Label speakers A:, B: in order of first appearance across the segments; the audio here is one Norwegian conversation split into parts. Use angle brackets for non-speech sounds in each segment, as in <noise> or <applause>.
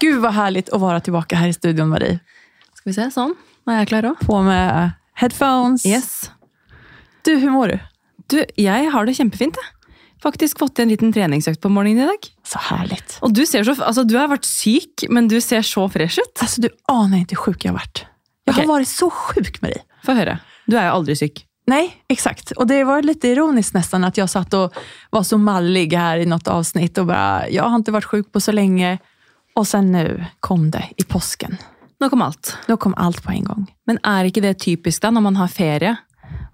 A: Gud vad härligt att vara tillbaka här i studion, Marie.
B: Skal vi se, sånn. Nå er jeg klar òg.
A: På med headphones.
B: Yes.
A: Du, hur mår du?
B: Du, jeg har det kjempefint, jeg. Faktisk fått til en liten treningsøkt på morgenen i dag.
A: Så härligt.
B: Og du ser så, altså du har vært syk, men du ser så fresh ut.
A: Alltså, du anar inte hur sjuk jag har varit. Jag
B: Okej.
A: har varit så sjuk, Marie.
B: Få høre. Du er jo aldri syk.
A: Nej, exakt. Och det var lite ironiskt nästan att jag satt och var så mallig här i något avsnitt och bara, jag har inte varit sjuk på så länge. Och sen nu kom det i påsken.
B: Nok om alt.
A: Då kom allt på en gång.
B: Men er ikke det typisk da, når man har ferie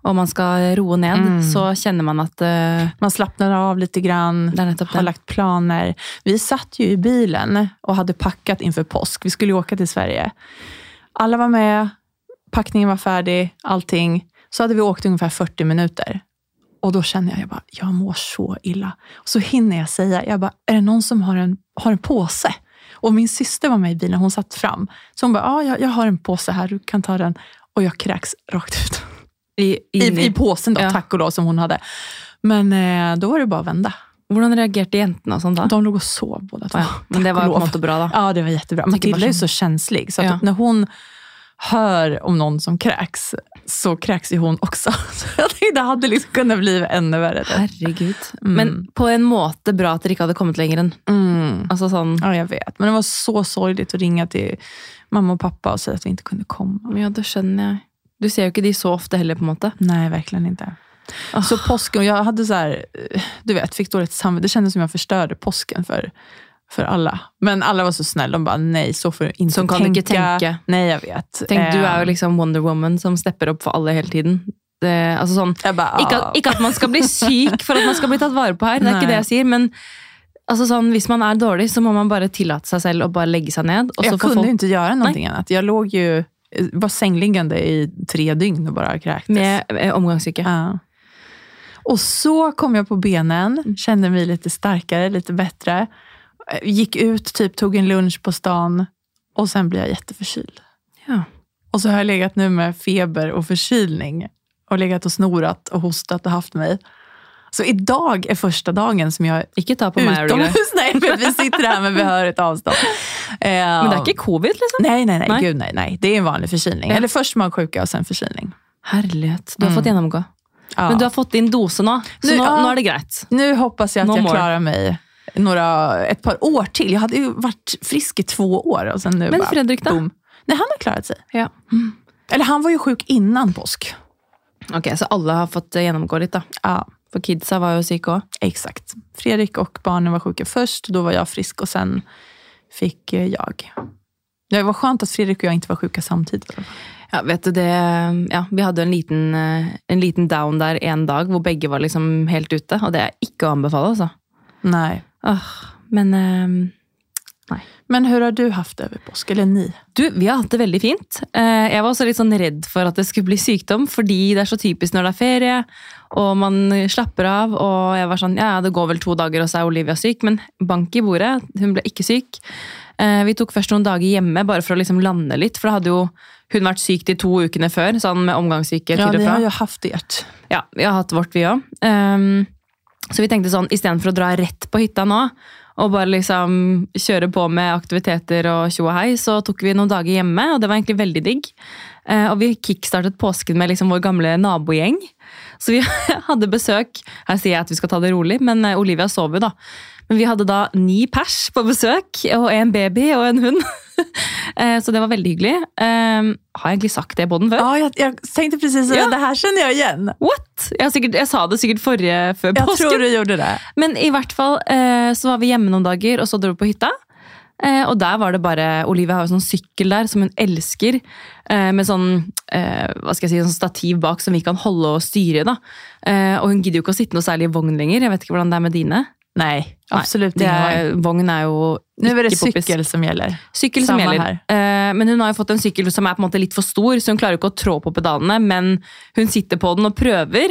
B: og man skal roe ned, så kjenner man at eh,
A: Man slappnar av lite grann,
B: Det är nettopp det.
A: har lagt planer. Vi satt ju i bilen och hade packat inför påsk. Vi skulle ju åka till Sverige. Alla var med, packningen var färdig, allting. Så hade vi åkt ungefär 40 minuter. Och då känner jag, jag bara, jag mår så illa. Så hinner jag säga, jag bara, är det någon som har en, har en påse? Och min syster var med i bilen, hon satt fram. Så hon bara, ja, jag, jag har en påse här, du kan ta den. Och jeg kräks rakt ut.
B: i, inn
A: I,
B: i-
A: I påsen då,
B: Ja.
A: tack och lov, som hon hade. Men eh, då var det bara att vända.
B: Hvordan reagerte jentene og sånn da?
A: De låg och sov båda två.
B: Ja, men det
A: Tack
B: var
A: och
B: jo på en
A: lov.
B: måte bra, da.
A: Ja, det var jättebra.
B: Tänker
A: Matilda
B: bara
A: är ju
B: så-
A: så känslig, så att
B: Ja.
A: när hon hör om någon som kräks, så kräks ju hon också. <laughs> Så jag tänkte, det hade liksom kunnat bli ännu värre. där.
B: Herregud. Mm. Men på en måte bra at dere ikke hadde kommet lenger enn
A: Mm.
B: altså sånn,
A: Ja, jag vet. Men det var så sorgligt att ringa till mamma og pappa och säga att vi inte kunde komma.
B: Ja, det skjønner jeg. Du ser jo ikke de så ofte heller, på en måte.
A: Nej, verkligen inte.
B: Ah.
A: Så påsken, jag hade så här, eh, du vet, fick dåligt samvete. Det kändes som jag förstörde påsken för, för alla. Men alla var så snälla. De bara, nej, så får du inte
B: Så kan du
A: tänka.
B: inte tänka.
A: Nej, jag vet.
B: Tenk, du
A: Eh,
B: er jo liksom Wonder Woman som stepper opp for alle hele tiden. Det, altså sånn,
A: jag bara,
B: ikke, at- ikke at man skal bli syk for at man skal bli tatt vare på her, det er
A: Ah. Nei.
B: ikke det jeg sier, men altså sånn, hvis man er dårlig, så må man bare tillate seg selv å bare legge seg ned. Og så
A: jag
B: får
A: kunde ju
B: folk
A: inte göra någonting annat. Jag låg ju, var sängliggande i tre dygn och bara kräktes.
B: med eh, omgangssyke.
A: Ja. Och så kom jag på benen, kände mig lite starkare, lite bättre. Eh, Gick ut, typ tog en lunch på stan och sen blev jag jätteförkyld.
B: Ja.
A: Och så har jag legat nu med feber och förkylning och legat och snorat och hostat och haft mig. Så idag är första dagen som jag är
B: Ikke ta på meg, er du grei?
A: utomhus. <laughs> Nej, för att vi sitter här med behörigt avstånd. Eh,
B: Men det er ikke covid, liksom?
A: Nej, nej, nej.
B: Nej.
A: Gud, nej, nej. Det är en vanlig förkylning.
B: Ja.
A: Eller först man sjuka och sen förkylning.
B: Herlighet. Du har fått gjennomgå.
A: Ja.
B: Men du har fått din dose nå, så
A: Nu-
B: nå,
A: Mm. ja.
B: nå er det greit.
A: Nu hoppas jag att
B: No
A: jag
B: more.
A: klarar mig några, ett par år till. Jag hade ju varit frisk i två år och sen nu
B: Men
A: bara,
B: Fredrik, da?
A: boom. Nej, han har klarat sig. Mm.
B: Ja.
A: Eller han var ju sjuk innan påsk.
B: Ok, så alle har fått eh, gjennomgå litt, da.
A: Ja,
B: For kidsa var jo syke òg.
A: exakt. Fredrik och barnen var sjuka först. Då var jag frisk och sen fick eh, jag. Det var skönt att Fredrik och jeg inte var sjuka samtidigt.
B: Ja, vet du det Ja, vi hadde jo en liten, eh, en liten down der en dag hvor begge var liksom helt ute, og det er ikke å anbefale, altså.
A: Nej.
B: Åh, men eh,
A: Men hur har du haft det över påsk? Eller ni?
B: Du, vi har hatt det veldig fint. Eh, Jeg var også litt sånn redd for at det skulle bli sykdom, fordi det er så typisk når det er ferie, og man slapper av, og jeg var sånn, ja, ja, det går vel to dager, og så er Olivia syk, men bank i bordet, hun ble ikke syk. Eh, Vi tok først noen dager hjemme, bare for å liksom lande litt, for da hadde jo hun vært syk de to ukene før, sånn med omgangssyke til
A: Ja,
B: og
A: ni
B: fra.
A: har ju haft ert.
B: Ja, vi har hatt vårt vi òg. Um, så vi tenkte sånn, istedenfor å dra rett på hytta nå, og bare liksom kjøre på med aktiviteter og tjo og hei, så tok vi noen dager hjemme, og det var egentlig veldig digg. Eh, og vi kickstartet påsken med liksom vår gamle nabogjeng. Så vi <laughs> hadde besøk. Her sier jeg at vi skal ta det rolig, men eh, Olivia sov jo, da. Men vi hadde da ni pers på besøk, og en baby og en hund. <laughs> Eh, så det var veldig hyggelig. Eh, har jeg egentlig sagt det i podden før?
A: Ja, jag, jag tänkte precis säga,
B: Ja.
A: det här känner jeg igen.
B: What?! Jeg, har sikkert, jeg sa det sikkert forrige, før
A: Jeg
B: påsken.
A: tror du gjorde det.
B: Men i hvert fall eh, så var vi hjemme noen dager, og så dro vi på hytta. Eh, og der var det bare Olivia har jo sånn sykkel der som hun elsker. Eh, med sånn eh, hva skal jeg si, sånn stativ bak som vi kan holde og styre. da. Eh, og hun gidder jo ikke å sitte noe særlig i vogn lenger. Jeg vet ikke hvordan det er med dine.
A: Nej,
B: Nei,
A: absolut
B: det
A: ingen
B: er, Vogn er jo
A: Nu är det
B: ikke poppis.
A: cykel som gäller.
B: Sykkel som
A: Samme
B: gjelder. Eh, men hun har jo fått en sykkel som er på en måte litt for stor, så hun klarer jo ikke å trå på pedalene, men hun sitter på den og prøver.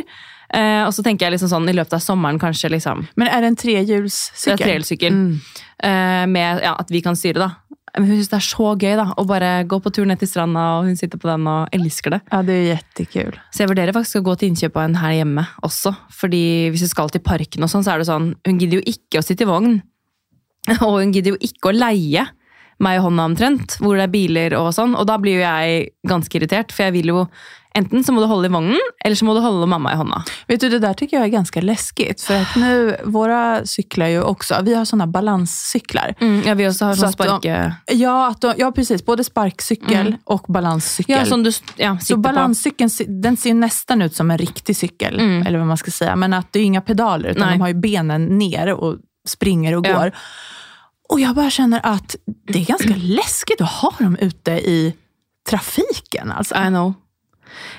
B: Eh, og så tenker jeg liksom sånn i løpet av sommeren kanskje liksom
A: Men är det en trehjulscykel?
B: Det er trehjulssykkel.
A: Mm.
B: Eh, med ja, at vi kan styre, da. Men hun syns det er så gøy da, å bare gå på tur ned til stranda, og hun sitter på den og elsker det.
A: Ja, det är jättekul.
B: Så jeg vurderer faktisk å gå til innkjøp av en her hjemme også. Fordi hvis hun skal til parken <laughs> og sånn, så er det sånn Hun gidder jo ikke å sitte i vogn. Og hun gidder jo ikke å leie. meg i hånda omtrent, hvor det er biler og sånn. Og da blir jo jeg ganske irritert, for jeg vil jo Enten så må du holde i vognen, eller så må du holde mamma i hånda.
A: Vet du, det där tycker jag är ganska läskigt. För att nu, våra cyklar ju också, vi har sådana balanscyklar.
B: ja, vi også har
A: Så
B: sånn
A: at
B: sparke...
A: Ja, att de, ja, precis. Både sparkcykel och balanscykel.
B: Ja, sånn du s- ja,
A: så
B: sitter på.
A: balanscykeln se- den ser ju nästan ut som en riktig cykel,
B: Mm.
A: eller vad man ska säga. Men att det är ju inga pedaler, utan
B: Nej.
A: de har ju benen ner och springer och
B: Ja.
A: går. Och jag bara känner att det är ganska läskigt att ha dem ute i trafiken. Alltså.
B: I know.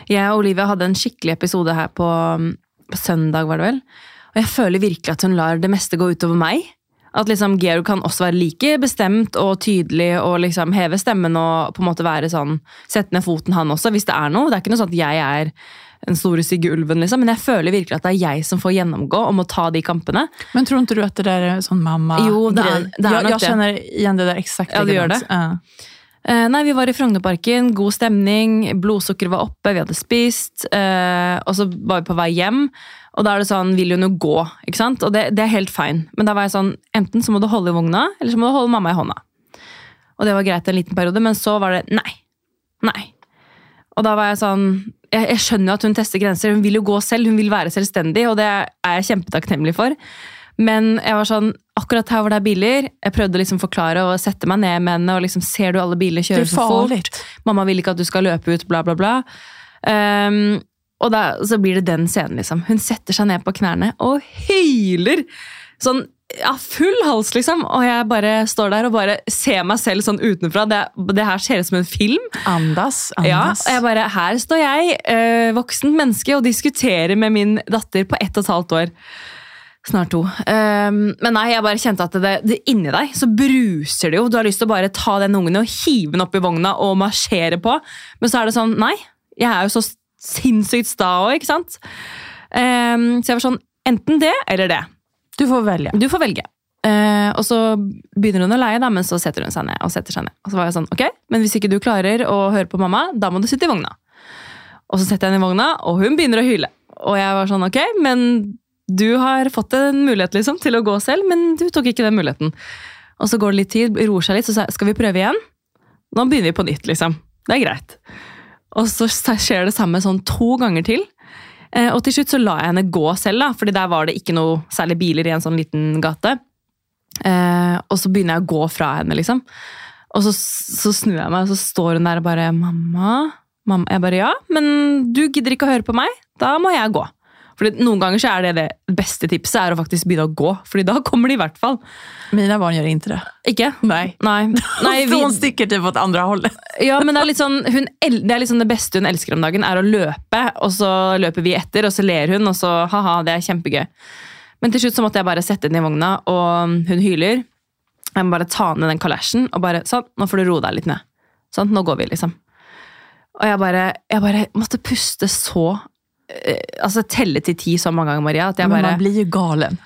B: Jeg og Olivia hadde en skikkelig episode her på, um, på søndag, var det vel? Og jeg føler virkelig at hun lar det meste gå utover meg. At liksom Gero kan også være like bestemt og tydelig og liksom heve stemmen og på en måte være sånn, sette ned foten han også, hvis det er noe. Det er ikke noe sånn at jeg er den store stygge ulven, liksom. Men jeg føler virkelig at det er jeg som får gjennomgå om å ta de kampene.
A: Men tror inte du att det där är en sån mamma
B: Jo, det är-
A: grej?
B: det är
A: jag,
B: något
A: jag
B: det.
A: känner igen det där exakt
B: Ja, du gör
A: likadant. Ja.
B: Eh, nei, Vi var i Frognerparken, god stemning, blodsukkeret var oppe, vi hadde spist. Eh, og så var vi på vei hjem, og da er det sånn Vil hun jo gå? ikke sant? Og det, det er helt fine. Men da var jeg sånn Enten så må du holde i vogna, eller så må du holde mamma i hånda. Og det var greit en liten periode, men så var det nei. Nei. Og da var jeg sånn jeg, jeg skjønner jo at hun tester grenser. Hun vil jo gå selv, hun vil være selvstendig, og det er jeg kjempetakknemlig for. Men jeg var sånn, akkurat her hvor det er biler Jeg prøvde å liksom forklare og sette meg ned med henne. og liksom, Ser du alle biler
A: Det
B: kjører
A: är
B: så fort?
A: farligt.
B: Mamma vil ikke at du skal løpe ut, bla, bla, bla. Ehm, og da, så blir det den scenen, liksom. Hun setter seg ned på knærne og hyler! Sånn ja, full hals, liksom. Og jeg bare står der og bare ser meg selv sånn utenfra. Det, det her ser ut som en film.
A: Andas,
B: Ja,
A: andas.
B: og jeg bare, her står jeg, eh, voksent menneske, og diskuterer med min datter på ett og et halvt år. Snart to. Ehm, men nei, jeg bare kjente at det, det inni deg så bruser det jo. Du har lyst til å bare ta den ungen og hive den opp i vogna og marsjere på. Men så er det sånn, nei, jeg er jo så sinnssykt sta òg, ikke sant? Ehm, så jeg var sånn, enten det eller det.
A: Du får välja.
B: Du får velge. Eh, og så begynner hun å leie, da, men så setter hun seg ned. Og setter seg ned. Og så var jeg sånn, ok, men hvis ikke du klarer å høre på mamma, da må du sitte i vogna. Og så setter jeg henne i vogna, og hun begynner å hyle. Og jeg var sånn, ok, men du har fått en mulighet liksom, til å gå selv, men du tok ikke den muligheten. Og så går det litt tid, roer seg litt, så sa jeg, skal vi prøve igjen? Nå begynner vi på nytt, liksom. Det er greit. Og så skjer det samme sånn to ganger til. Eh, Og til slutt så la jeg henne gå selv, da, fordi der var det ikke noe særlig biler i en sånn liten gate. Eh, og så begynner jeg å gå fra henne, liksom. Og så, så snur jeg meg, og så står hun der og bare 'Mamma?' mamma. Jeg bare 'Ja, men du gidder ikke å høre på meg. Da må jeg gå'. Fordi Noen ganger så er det det beste tipset er å faktisk begynne å gå. Fordi da kommer de i hvert fall.
A: Mina barn gör inte det.
B: Ikke?
A: Nej.
B: Nei. Nei
A: För hon sticker typ åt andra hållet.
B: ja, men det er litt sånn hun, el- Det er liksom det beste hun elsker om dagen, er å løpe. Og så løper vi etter, og så ler hun, og så ha-ha, det er kjempegøy. Men til slutt så måtte jeg bare sette henne i vogna, og um, hun hyler. Jeg må bare ta ned den kalesjen og bare Sånn, nå får du roe deg litt ned. Sånn, nå går vi, liksom. Og jeg bare, jeg bare måtte puste så eh, Altså telle til ti så mange ganger, Maria, at jeg
A: Men
B: bare
A: man blir ju galen.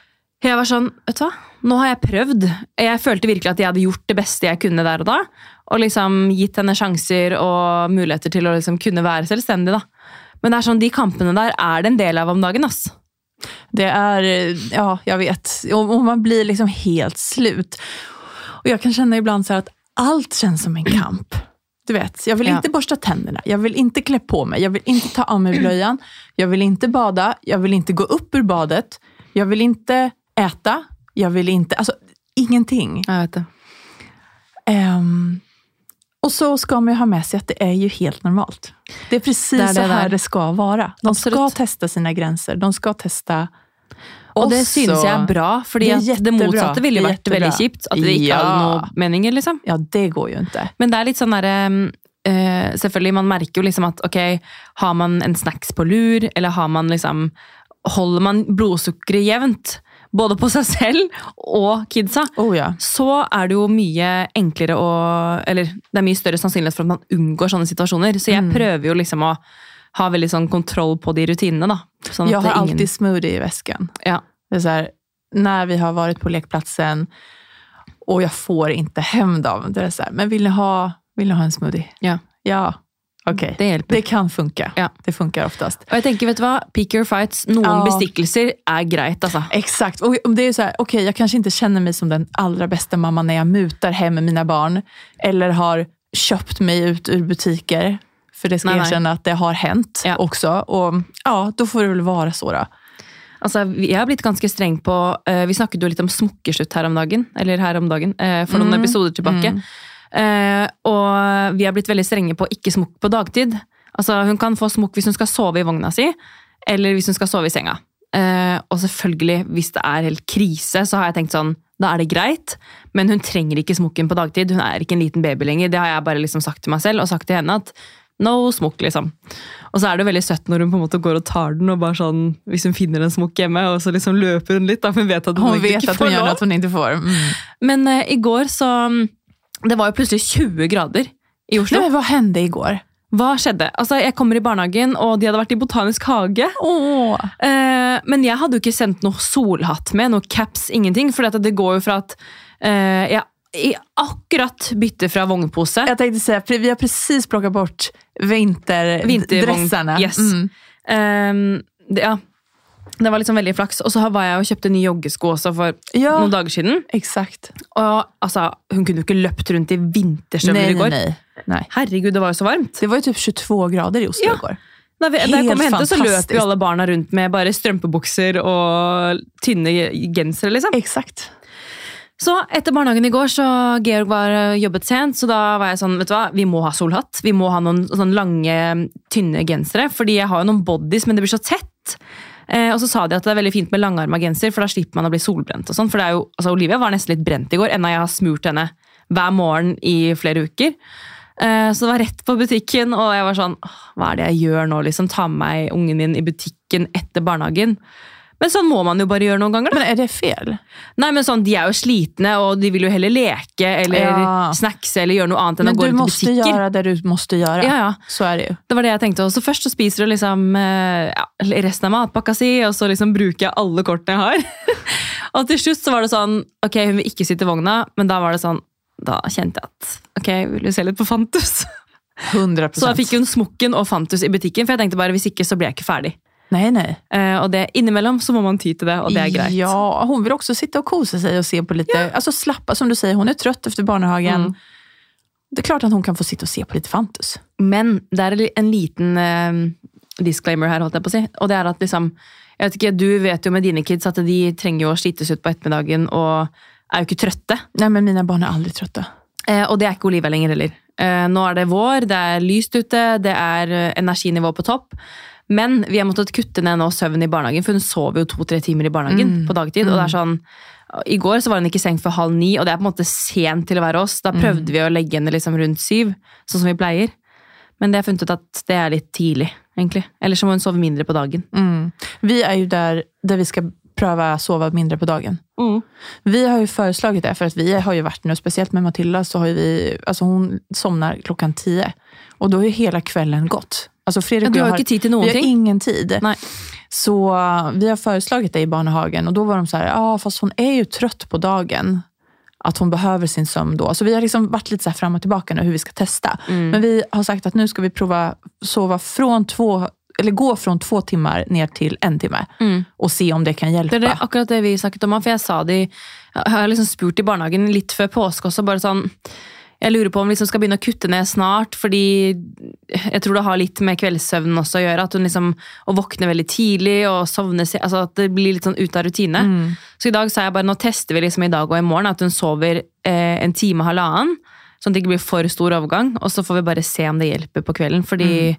B: jeg var sånn, vet du hva? Nå har jeg prøvd. Jeg følte virkelig at jeg hadde gjort det beste jeg kunne der og da. Og liksom gitt henne sjanser og muligheter til å liksom kunne være selvstendig. da. Men det er sånn, de kampene der er det en del av om dagen. ass.
A: Det är, eh, ja, jag vet. Och, och man blir liksom helt slut. Och jag kan känna ibland så här att allt känns som en kamp. Du vet, jag vill
B: Ja.
A: inte borsta tänderna, jag vill inte klä på mig, jag vill inte ta av mig blöjan, jag vill inte bada, jag vill inte gå upp ur badet, jag vill inte äta, jag vill ikke Alltså, ingenting.
B: Jeg vet det.
A: Ehm, och så ska man ju ha med sig att det är ju helt normalt. Det är precis
B: Det är det
A: så här
B: där.
A: det ska vara. De ska
B: Absolut.
A: testa sina gränser. De ska testa
B: Og det
A: oss
B: synes jeg er
A: och-
B: bra, fordi
A: Det er
B: det, at det
A: jättebra.
B: motsatte ville
A: Det er
B: vært veldig
A: jättebra.
B: kjipt. At det ikke
A: Ja.
B: hadde noen meninger. liksom.
A: Ja, det går ju inte.
B: Men det er litt sånn der, um, eh, Selvfølgelig, man merker jo liksom at ok, har man en snacks på lur, eller har man liksom Holder man blodsukkeret jevnt, både på seg selv og kidsa,
A: Oh ja.
B: så er det jo mye enklere å Eller det er mye større sannsynlighet for at man unngår sånne situasjoner. Så
A: Mm.
B: jeg prøver jo liksom å ha veldig sånn kontroll på de rutinene, da. Sånn
A: Jag har
B: det
A: alltid smoothie i väskan.
B: ja.
A: Det är så här, när vi har varit på lekplatsen och jag får inte hem dem. Det är så här, men vill ni ha, vill ni ha en smoothie?
B: Ja.
A: Ja. Okej.
B: Det hjelper.
A: Det kan funka.
B: Ja.
A: Det funkar oftast.
B: Og jeg tenker, vet du hva? Pick your fights. Noen
A: Ja.
B: bestikkelser er greit, altså.
A: Exakt. Och om det är ju så här, okej, jag kanske inte känner mig som den allra bästa mamman när jag mutar hem mina barn. Eller har köpt mig ut ur butiker. För det ska
B: Nej,
A: jag
B: nej.
A: erkänna att det har hänt
B: Ja.
A: också. Och ja, då får det väl vara så då.
B: Altså, jeg har blitt ganske streng på eh, Vi snakket jo litt om smokkeslutt her om dagen. Eller her om dagen, eh, for noen
A: Mm,
B: episoder tilbake. Eh, og vi har blitt veldig strenge på ikke smokk på dagtid. Altså, hun kan få smokk hvis hun skal sove i vogna si, eller hvis hun skal sove i senga. Eh, og selvfølgelig, hvis det er helt krise, så har jeg tenkt sånn da er det greit, men hun trenger ikke smokken på dagtid. Hun er ikke en liten baby lenger. Det har jeg bare liksom sagt til meg selv og sagt til henne at no smokk, liksom. Og så er det veldig søtt når hun på en måte går og tar den, og bare sånn, hvis hun finner en smokk hjemme, og så liksom løper hun litt, da, for hun vet at hun,
A: Hon vet
B: ikke
A: att
B: får
A: hon gör
B: lov.
A: något hon inte får. Mm.
B: Men eh, i går så mm, Det var jo plutselig 20 grader i
A: Nej,
B: Oslo.
A: men vad hände igår?
B: Hva skjedde? Altså, Jeg kommer i barnehagen, og de hadde vært i botanisk hage.
A: Åh.
B: Eh, men jeg hadde jo ikke sendt noe solhatt med, noe caps, ingenting. For det går jo fra at eh, jeg, jeg akkurat bytter fra vognpose
A: Jag tänkte säga, vi har precis plockat bort vinter,
B: Vintervång-
A: dressarna. Mm.
B: yes. eh, det, Ja, det var liksom veldig flaks. Og så var jeg og kjøpte nye joggesko også for
A: Ja,
B: noen dager siden.
A: exakt.
B: Og altså, hun kunne jo ikke løpt rundt i vinterstøvler
A: Nej,
B: i
A: nej,
B: går.
A: nej, nej.
B: Herregud, det var jo så varmt.
A: Det var ju typ 22 grader i Oslo
B: Ja.
A: igår.
B: Da, vi, da jeg
A: Helt
B: kom og hentet, så løp
A: fantastisk.
B: jo alle barna rundt med bare strømpebukser og tynne gensere, liksom.
A: Exakt.
B: Så etter barnehagen i går, så Georg var ø, jobbet sent, så da var jeg sånn, vet du hva, vi må ha solhatt. Vi må ha noen sånn lange, tynne gensere, fordi jeg har jo noen bodies, men det blir så tett. Eh, og så sa de at det er veldig fint med langarma genser, for da slipper man å bli solbrent og sånn. For det er jo, altså Olivia var nesten litt brent i går, enda jeg har smurt henne hver morgen i flere uker. Eh, så det var rett på butikken, og jeg var sånn, «Åh, hva er det jeg gjør nå, liksom? Ta med meg ungen min i butikken etter barnehagen. Men sånn må man jo bare gjøre noen ganger, da.
A: Men är det fel?
B: Nei, men sånn, De er jo slitne, og de vil jo heller leke eller
A: Ja.
B: snackse eller gjøre noe annet enn
A: Men
B: å gå
A: du
B: rundt i
A: måste
B: butikker.
A: göra det du måste göra.
B: Ja, ja.
A: Så är det ju.
B: Det var det jeg tenkte. også. Så Først så spiser du liksom, eh, ja, resten av matpakka si, og så liksom bruker jeg alle kortene jeg har. <laughs> og til slutt så var det sånn Ok, hun vil ikke sitte i vogna, men da var det sånn Da kjente jeg at Ok, vil du se litt på Fantus? <laughs>
A: 100
B: Så da
A: procent.
B: fikk hun smokken og Fantus i butikken, for jeg tenkte bare hvis ikke, så blir jeg ikke ferdig.
A: Nej, nej.
B: Eh, og det, innimellom så må man ty til det, og det er greit.
A: Ja, hon vill också sitta och kosa sig och se på lite, alltså slappa som du säger, hon är trött efter barnhagen.
B: Mm.
A: Det är klart att hon kan få sitta och se på lite Fantus.
B: Men det er en liten eh, disclaimer her, holdt jeg på å si. Og det er at liksom jeg vet ikke, Du vet jo med dine kids at de trenger jo å slites ut på ettermiddagen og er jo ikke trøtte.
A: Nej, men mina barn är aldrig trötta.
B: Eh, og det er ikke Olivia lenger heller. Eh, nå er det vår, det er lyst ute, det er eh, energinivå på topp. Men vi har måttet kutte ned nå søvn i barnehagen, for hun sover jo to-tre timer i barnehagen
A: Mm.
B: på dagtid. og det er sånn, I går så var hun ikke i seng før halv ni, og det er på en måte sent til å være oss. Da
A: Mm.
B: prøvde vi å legge henne liksom rundt syv, sånn som vi pleier. Men det har jeg funnet ut at det er litt tidlig, egentlig. Eller så må hun sove mindre på dagen.
A: Mm. Vi är ju där, där vi ska pröva sova mindre på dagen. Vi har ju föreslagit det, för att vi har ju varit nu, speciellt med Matilda, så har ju vi, alltså hon somnar klockan tio. Och då har ju hela kvällen gått. Alltså Fredrik
B: Ja,
A: och
B: du
A: jag
B: har jo ikke tid til
A: Vi
B: noen
A: har
B: ting.
A: ingen tid.
B: Nej.
A: Så uh, vi har föreslagit det i barnhagen och då var de så här, ja fast hon är ju trött på dagen. Att hon behöver sin sömn då. Så vi har liksom varit lite så här fram och tillbaka nu hur vi ska testa.
B: Mm.
A: Men vi har sagt att nu ska vi prova sova från två, eller gå från två timmar ner till en timme. Och se om det kan hjälpa.
B: Mm. Det er det, akkurat det vi snakket om, for jeg sa det i- Jeg har liksom spurt i barnehagen litt før påske også, bare sånn Jeg lurer på om vi liksom skal begynne å kutte ned snart, fordi jeg tror det har litt med kveldssøvnen også å gjøre. At hun liksom å våkne veldig tidlig og sovne se- Altså at det blir litt sånn ut av rutine. Så i dag sa jeg bare nå tester vi liksom i dag og i morgen at hun sover eh, en time og halvannen. Sånn at det ikke blir for stor overgang. Og så får vi bare se om det hjelper på kvelden. fordi...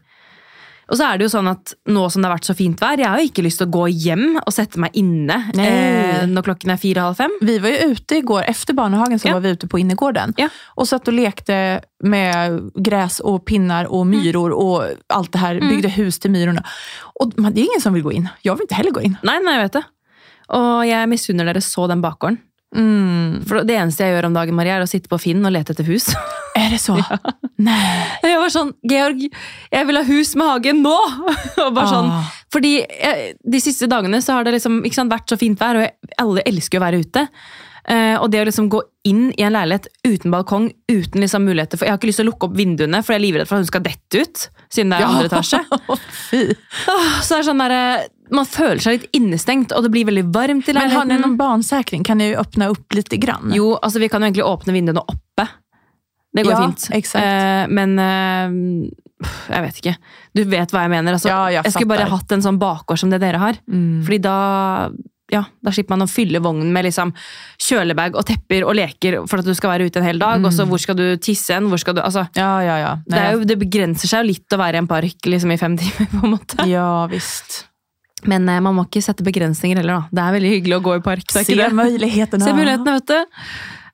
B: Og så er det jo sånn at nå som det har vært så fint vær, jeg har jo ikke lyst til å gå hjem og sette meg inne
A: Nei.
B: eh, når klokken er fire-halv fem.
A: Vi var ju ute igår, efter barnhagen så
B: Ja.
A: var vi ute på innergården.
B: Ja.
A: Och satt och lekte med gräs och pinnar och
B: Mm.
A: myror och allt det här. Byggde hus till myrorna. Och man, det är ingen som vill gå in. Jag vill inte heller gå in.
B: Nei, nei, jeg vet det. Og jeg misunner dere så den bakgården. For det eneste jeg gjør om dagen, Maria, er å sitte på Finn og lete etter hus. <laughs>
A: Är det så? <laughs> Nej.
B: Jeg var sånn, Georg, jeg vil ha hus med hage nå! <laughs> og bare sånn,
A: Ah.
B: fordi eh, jeg, De siste dagene så har det liksom, ikke sant, vært så fint vær, og jeg, alle elsker å være ute. Eh, og det å liksom gå inn i en leilighet uten balkong, uten liksom muligheter for Jeg har ikke lyst til å lukke opp vinduene, for jeg er livredd for at hun skal dette ut. siden det er andre etasje.
A: <laughs> Fy.
B: Åh, Så det er sånn der, eh, Man føler seg litt innestengt, og det blir veldig varmt i
A: Men har ni
B: leiligheten.
A: någon barnsäkring? Kan ni öppna upp lite grann?
B: mm. Jo, altså vi kan jo egentlig åpne vinduene oppe. Det går
A: Ja,
B: fint.
A: exakt.
B: Eh, men eh, jeg vet ikke. Du vet hva jeg mener. Altså,
A: Ja, jeg
B: jeg Mm. skulle bare
A: fattar.
B: hatt en sånn bakgård som det dere har. Fordi da, ja, da slipper man å fylle vognen med liksom kjølebag og tepper og leker for at du skal være ute en hel dag. Og så hvor skal du tisse hen? Hvor skal du, altså,
A: Ja, ja, ja.
B: det,
A: Nej.
B: er jo, det begrenser seg jo litt å være i en park liksom, i fem <laughs> timer, på en måte.
A: Ja, visst.
B: Men eh, man må ikke sette begrensninger heller, da. Det er veldig hyggelig å gå i park. det er ikke
A: Se
B: det.
A: möjligheterna.
B: Se mulighetene, vet du.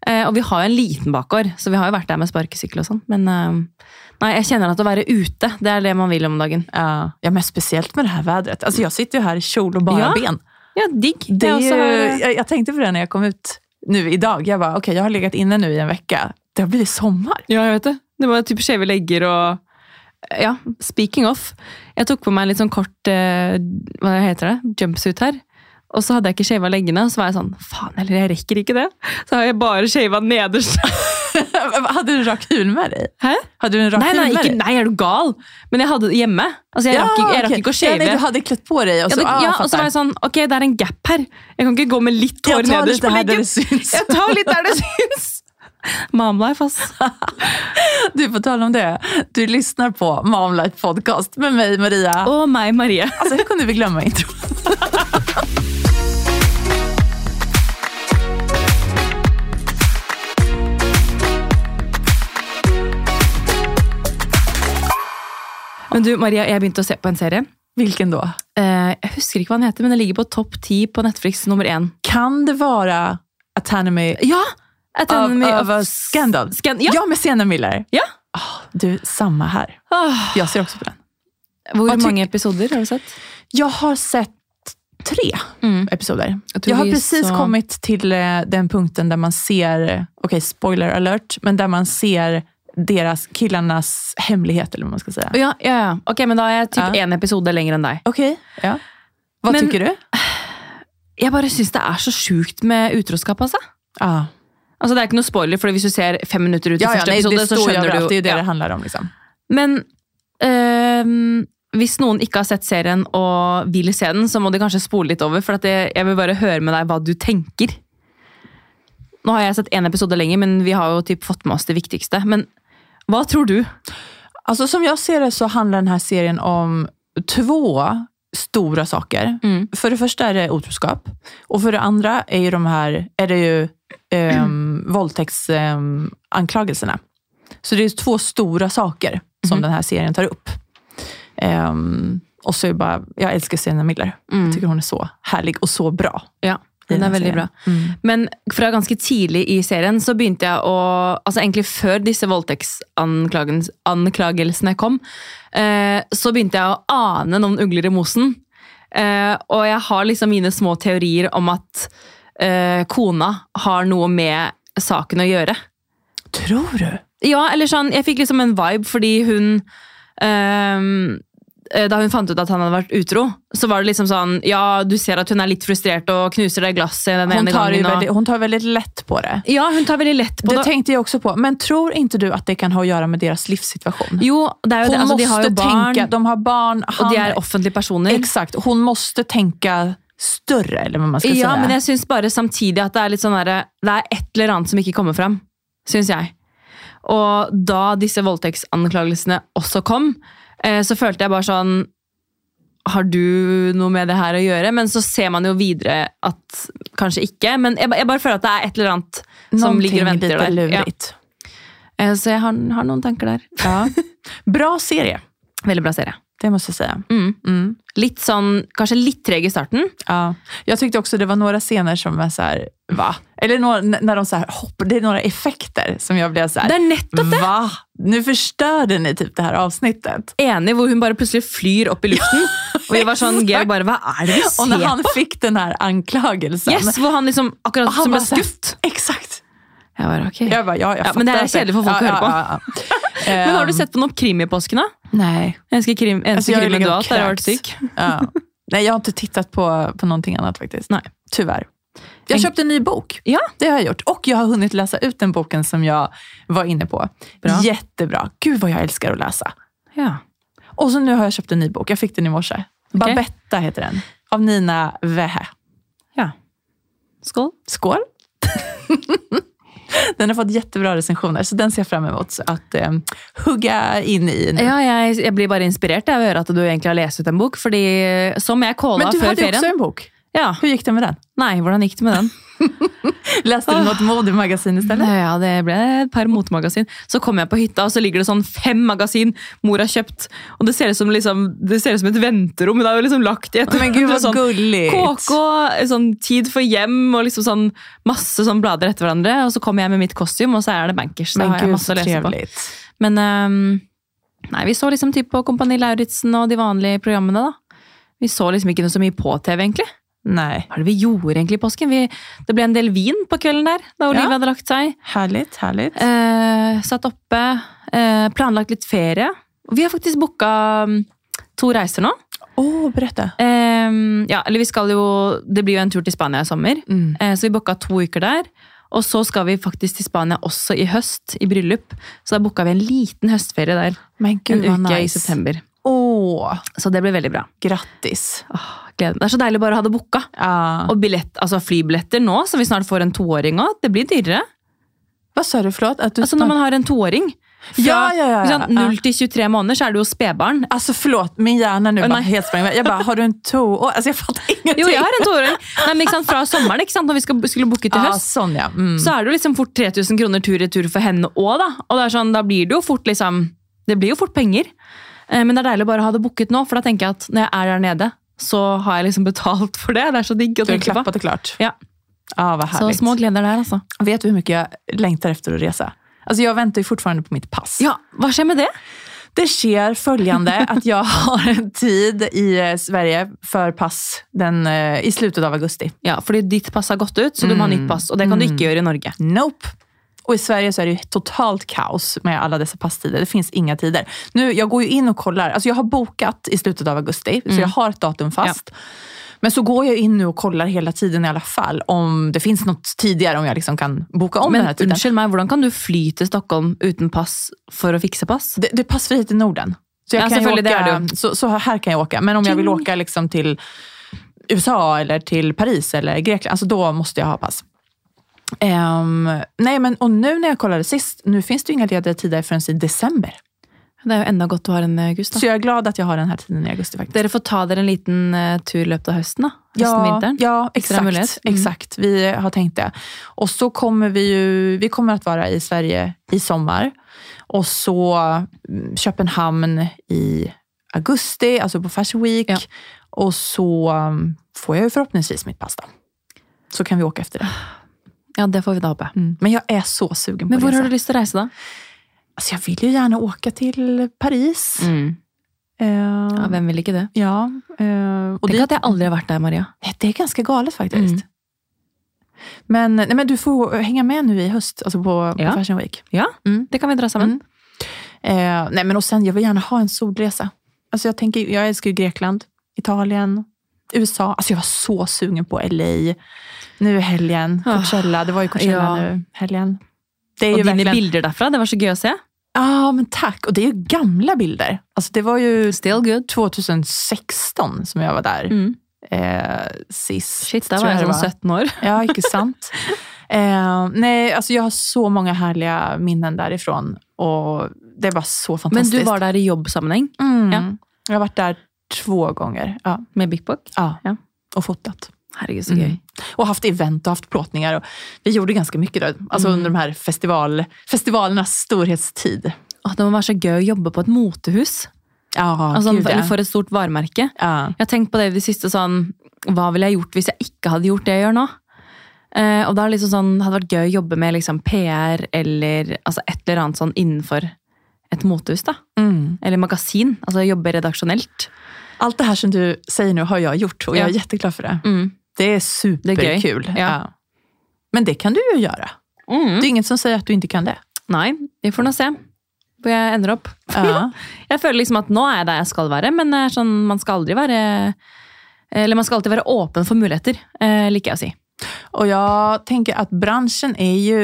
B: Eh, og vi har jo en liten bakgård, så vi har jo vært der med sparkesykkel og sånn. Men eh, nei, jeg kjenner at å være ute, det er det man vil om dagen.
A: Ja. ja, men speciellt med det här vädret. Alltså jag sitter ju här i kjol och bara
B: Ja,
A: ben.
B: Ja, digg.
A: Det är
B: Jeg også
A: ju,
B: har-
A: jag, jag tänkte på det när jag kom ut nu idag. Jag bara, okej, jag har legat inne nu i en vecka. Det har blivit sommar. <laughs>
B: Ja, jeg vet det. Det var typ skjeve legger og Ja, speaking of. Jeg tok på meg litt sånn kort eh, hva heter det, jumpsuit her. Og så hadde jeg ikke shava leggene, og så var jeg sånn Faen heller, jeg rekker ikke det. Så har jeg bare shava nederst.
A: hade du en rak hyl med dig?
B: Hæ?
A: Hade du en rak
B: Nei, nei,
A: hyl med
B: ikke,
A: dig?
B: nei, er du gal? Men jeg hadde det hjemme. Altså, jeg rakk, ikke- jeg rakk
A: okej.
B: ikke å
A: ja,
B: shave.
A: nej, du hade klätt på dig. Och så,
B: ja, det,
A: ah,
B: ja,
A: jag
B: og så var
A: fattar.
B: Altså, jeg sånn, ok, det er en gap her. Jeg kan ikke gå med litt hår
A: Jag tar
B: nederst
A: lite
B: på
A: här där
B: leggen.
A: det
B: <laughs>
A: syns.
B: Jeg tar litt der det syns. Momlife, ass.
A: Du, på tal om det. Du lyssnar på Momlife Podcast med mig, Maria.
B: Og meg, Marie.
A: Alltså hur kunde vi glömma intro?
B: Men du, Maria, jeg begynte å se på en serie.
A: Vilken då?
B: Eh, Jeg husker ikke hva den heter, men den ligger på topp ti på Netflix nummer én.
A: Kan det vara Autonomy
B: Ja!
A: of,
B: Anatomy
A: of
B: of-
A: a Scandal?
B: Scan- ja.
A: Ja, med Sienna Miller.
B: Ja.
A: Ah, du, samma här.
B: Åh,
A: Jag ser också på den.
B: Hvor
A: Hva tyk-
B: mange episoder har du sett?
A: Jag har sett tre
B: Mm.
A: episoder.
B: Jag
A: Jag,
B: tror
A: har
B: vi
A: precis
B: så-
A: kommit till eh, den punkten där man ser, eh, okej, spoiler alert, men där man ser deras, killarnas hemlighet, eller vad man ska säga.
B: Ja, ja, ja. Ok, men da er jeg typ
A: Ja.
B: én episode lenger enn deg.
A: Okej, ja. Vad
B: Men-
A: tycker du?
B: Jeg bare syns det er så sjukt med utroskap, altså.
A: Ah.
B: Altså, Det er ikke noe spoiler, for hvis du ser fem minutter ut i
A: Ja, ja,
B: første
A: nej,
B: episode,
A: det
B: så
A: står ju
B: skjønner
A: överallt.
B: du
A: Det är ju det
B: Ja.
A: det handlar om. Liksom.
B: Men øhm, hvis noen ikke har sett serien og vil se den, så må de kanskje spole litt over, for at jeg, jeg vil bare høre med deg hva du tenker. Nå har jeg sett én episode lenger, men vi har jo typ fått med oss det viktigste. Men hva tror du?
A: Alltså, som jag ser det så handlar den här serien om två stora saker.
B: Mm.
A: För det första är det otroskap. Och för det andra är, ju de här, är det ju ehm, våldtäktsanklagelserna. så det är två stora saker som den här serien tar upp. Ehm, och så är det bara, jag älskar Sienna Miller. Jag tycker hon är så härlig og så bra.
B: Ja,
A: i
B: den
A: den
B: er veldig bra.
A: serien. Mm.
B: Men fra ganske tidlig i serien så begynte jeg å Altså egentlig før disse voldtektsanklagelsene kom, eh, så begynte jeg å ane noen ugler i mosen. Eh, og jeg har liksom mine små teorier om at eh, kona har noe med saken å gjøre.
A: Tror du?
B: Ja, eller sånn, jeg fikk liksom en vibe fordi hun ehm, eh, Da hun fant ut at han hadde vært utro, så var det liksom sånn Ja, du ser at hun er litt frustrert og knuser det glasset den
A: Hon
B: ene
A: tar, ju
B: gangen. Og...
A: väldigt, hon tar väldigt lätt på det.
B: Ja, hun tar veldig lett på
A: Det
B: det.
A: tänkte jag också på. Men tror inte du att det kan ha att göra med deras livssituation?
B: Jo, det er
A: Hon
B: jo det. Altså, de har
A: måste
B: jo barn,
A: tänka, de har barn. Han,
B: og de er offentlige personer.
A: Exakt, hon måste tänka större, eller vad man ska
B: Ja,
A: säga.
B: men jeg syns bare samtidig at det er litt sånn derre Det er et eller annet som ikke kommer fram, syns jeg. Og da disse voldtektsanklagelsene også kom, eh, så følte jeg bare sånn Har du noe med det her å gjøre? Men så ser man jo videre at kanskje ikke. Men jeg, ba- jeg bare føler at det er et eller annet som
A: Någonting
B: ligger og venter
A: lite
B: der. Ja.
A: lurigt.
B: Eh, Så jeg har, har noen tanker der.
A: Ja. <laughs> Bra serie,
B: Veldig bra serie.
A: det måste jag säga.
B: Mm.
A: Mm.
B: Litt sånn, kanskje litt treg i starten.
A: Ja. Jag tyckte också det var några scener som var så här, va? Eller några, n- när de så här hoppar, det är några effekter som jag blev så här,
B: Det er nettopp
A: va? Nu förstörde ni typ det här avsnittet.
B: enig hvor hun bare plutselig flyr opp i luften. og vi var <laughs> sånn, Georg bare, hva er det vi
A: Och när
B: ser?
A: han fick den här anklagelsen.
B: yes, hvor han liksom, akkurat
A: han
B: som ble
A: bare sånn-
B: skutt.
A: Exakt.
B: Jeg bare, ok.
A: Jag bara, ja, jag
B: Ja, men det här
A: fattar
B: är
A: att det-
B: kedligt för folk att höra
A: ja, ja, ja.
B: <laughs> Men har du
A: Ehm,
B: sett på noen krim i påsken da?
A: Nej.
B: Eneste krim, eneste
A: Altså, jeg har
B: krimmen du
A: ligget
B: har
A: og
B: hatt, der har vært
A: kräkts.
B: syk.
A: Ja. Nej, jag har inte tittat på, på någonting annat faktiskt.
B: Nej.
A: Tyvärr. Jag
B: En-
A: köpte en ny bok.
B: Ja.
A: Det har jag gjort. Och jag har hunnit läsa ut den boken som jag var inne på.
B: Bra.
A: Jättebra. Gud vad jag älskar att läsa.
B: Ja.
A: Och så nu har jag köpt en ny bok. Jag fick den i morse. Babetta heter den. Av Nina Wehe.
B: ja. Skål.
A: Skål! <laughs> den har fått jättebra recensioner, så den ser jag fram emot att eh, hugga in i nu.
B: Ja, jeg, jeg blir bare inspirert av å høre at du egentlig har lest ut en bok. fordi eh, Som jeg
A: Men
B: calla
A: du
B: før
A: hade ju
B: ferien.
A: också en bok.
B: Ja,
A: Hur gick det med den? Ah.
B: Nei, hvordan gikk det med den?
A: Läste du något modemagasin istället?
B: Nei, ja, Det ble et par motemagasin. Så kom jeg på hytta, og så ligger det sånn fem magasin mor har kjøpt. Og det ser ut som, liksom, det ser ut som et venterom. men Det er jo liksom lagt i et
A: Men
B: <laughs>
A: gud vad
B: sånn
A: gulligt!
B: KK, sånn tid for hjem og liksom sånn masse sånn blader etter hverandre. Og så kommer jeg med mitt kostyme, og så er det bankers. Så
A: Men
B: har jeg
A: gud
B: masse
A: så
B: å lese på.
A: trevligt.
B: Men ehm, nei, vi så liksom typ på Kompani Lauritzen och de vanlige programmene, da. Vi så liksom ikke noe så mye på TV, egentlig.
A: Nej,
B: Hva er det vi gjorde egentlig i påsken? Vi, det ble en del vin på kvelden der, da Olivia hadde lagt seg.
A: härligt, härligt.
B: Eh, satt oppe, eh, planlagt litt ferie. Og vi har faktisk booka mm, to reiser nå.
A: Åh, berätta.
B: Eh, ja, eller vi skal jo Det blir jo en tur til Spania i sommer.
A: Mm.
B: Eh, Så vi booka to uker der. Og så skal vi faktisk til Spania også i høst, i bryllup. Så da booka vi en liten høstferie der.
A: Men gud
B: en
A: vad
B: uke i
A: nice.
B: september.
A: Åh,
B: Så det blir veldig bra.
A: grattis.
B: Åh, gleder meg. Det er så deilig bare å ha det booka.
A: Ja.
B: Og billett, altså flybilletter nå, som vi snart får en toåring av, det blir dyrere.
A: Vad sa du, förlåt? Att du
B: Altså Når man har en toåring fra
A: Ja, ja, ja, ja.
B: Ikke sant, 0 til 23 måneder, så er du jo spedbarn.
A: Alltså förlåt, Altså, min hjärna nu
B: Åh,
A: bara
B: nej.
A: helt sprang iväg. Jeg bara, har du en to? Åh, Alltså jag fattar ingenting.
B: Jo, jeg har en toåring! Nei, men ikke sant, Fra sommeren, ikke sant, når vi skal, skulle booke til
A: Ja,
B: høst,
A: sån ja. Mm.
B: så er det jo liksom fort 3000 kroner tur-retur for henne òg, da. Og det er sånn, da blir det jo fort liksom Det blir jo fort penger. Eh, Men det er deilig å bare ha det booket nå, for da tenker jeg at når jeg er der nede, så har jeg liksom betalt for det. Det er så digg å
A: Du har
B: tenke på.
A: klappat och klart.
B: Ja.
A: Ja, vad
B: Så
A: härligt.
B: små gleder der, altså.
A: Vet du hur mycket jag längtar efter Altså, att resa? Alltså jag väntar ju fortfarande på mitt pass.
B: Ja, Hva skjer med det?
A: Det sker följande att jag har en tid i eh, Sverige för pass den, eh, i slutet av augusti.
B: Ja, fordi ditt pass har gått ut, så du må ha nytt pass. Og det kan du ikke gjøre i Norge.
A: Nope. Och i Sverige så är det ju totalt kaos med alla dessa passtider. Det finns inga tider. Nu, jag går ju in och kollar. Alltså jag har bokat i slutet av augusti, så jag har ett datum fast. Men så går jag in nu och kollar hela tiden i alla fall om det finns något tidigare, om jag liksom kan boka om den
B: Men
A: här tiden.
B: unnskyld meg, hvordan kan du fly til Stockholm uten pass for å fikse pass?
A: Det, det är passfrihet i Norden. Så, jag kan
B: Ja,
A: ju åka,
B: selvfølgelig, det är det
A: så, så här kan jag åka. Men om jag vill åka liksom till USA eller till Paris eller Grekland, alltså då måste jag ha pass. Ehm, nej, men, och nu när jag kollade sist, nu finns det ju inga lediga tider förrän i december.
B: Det er jo enda godt du har en eh, august,
A: Så
B: da.
A: jag är glad att jag har den här tiden i augusti faktiskt.
B: Dere får ta dere en liten eh, tur i løpet av høsten, da. Høsten, vinteren.
A: ja
B: Extra
A: exakt,
B: möjlighet. Mm.
A: exakt. Vi har tänkt det. Och så kommer vi ju, vi kommer att vara i Sverige i sommar. Och så mm, Köpenhamn i augusti, alltså på Fashion Week.
B: Ja.
A: Och så um, får jag ju förhoppningsvis mitt pass då. Så kan vi åka efter det.
B: Ja, det får vi da håpe.
A: Men jag är så sugen på
B: Mm. Men
A: att
B: hvor
A: resa.
B: har du lyst til å reise, da?
A: Alltså, jag vill ju gärna åka till Paris. Eh,
B: Mm. Ja, hvem vil ikke det?
A: ja, eh, och
B: Tenk
A: dit-
B: at jeg aldri har vært der, Maria.
A: Nej, Det är ganska galet faktiskt.
B: Mm.
A: Men, nej, men du får hänga med nu i höst, alltså på,
B: Ja.
A: på Fashion Week.
B: Ja,
A: Mm.
B: det kan vi dra sammen.
A: Mm. Eh, nej, men och sen, jag vill gärna ha en Altså, solresa. Alltså jag, tänker, jag älskar ju Grekland, Italien, USA. Alltså jag var så sugen på LA nu i helgen.
B: Ah.
A: Coachella, det var ju Coachella
B: Ja.
A: nu i helgen. Det är
B: Og
A: ju
B: dine
A: verkligen...
B: bilder derfra, det var så gøy å se.
A: Ja, Ah, men tack. Och det är ju gamla bilder. Alltså det var ju
B: Still good.
A: 2016 som jag var där
B: Mm.
A: eh, sist.
B: Shit, da
A: tror
B: var jeg
A: det
B: sånn 17 år.
A: Ja, ikke
B: <laughs>
A: sant? eh, nej, alltså jag har så många härliga minnen därifrån. Och det är bara så
B: Men
A: fantastiskt.
B: du var der i jobbsammenheng
A: mm.
B: Ja.
A: Jag har varit där två gånger. Ja.
B: med Big Book.
A: Ja.
B: Ja.
A: Och fotat.
B: Herregud, så
A: Mm.
B: gøy.
A: Och haft event och haft plåtningar. Och vi gjorde ganska mycket då, alltså
B: Mm.
A: Altså, under de här festival, festivalernas storhetstid.
B: Åh, det må være så gøy å jobbe på et motehus.
A: Ja,
B: Altså,
A: gud, ja.
B: eller for et stort varemerke.
A: ja.
B: Jeg har tenkt på det i det siste sånn, hva ville jeg gjort hvis jeg ikke hadde gjort det jeg gjør nå? Eh, og da er det liksom sånn, hadde det vært gøy å jobbe med liksom PR eller altså et eller annet sånn innenfor et motehus da.
A: Mm.
B: Eller magasin, altså jobbe redaksjonelt.
A: Allt det här som du säger nu har jag gjort och jag är
B: Ja.
A: jätteglad för det.
B: Mm.
A: Det är superkul.
B: Ja. Mm.
A: Men det kan du ju göra. Det är inget som säger att du inte kan
B: <laughs>
A: det.
B: Nei, vi får nå se hvor jeg ender opp.
A: Ja.
B: Jeg føler liksom at nå er jeg der jeg skal være, men det er sånn, man skal aldri være, eller man skal alltid være åpen for muligheter, eh, liker jeg å si.
A: Och jag tänker att branschen är ju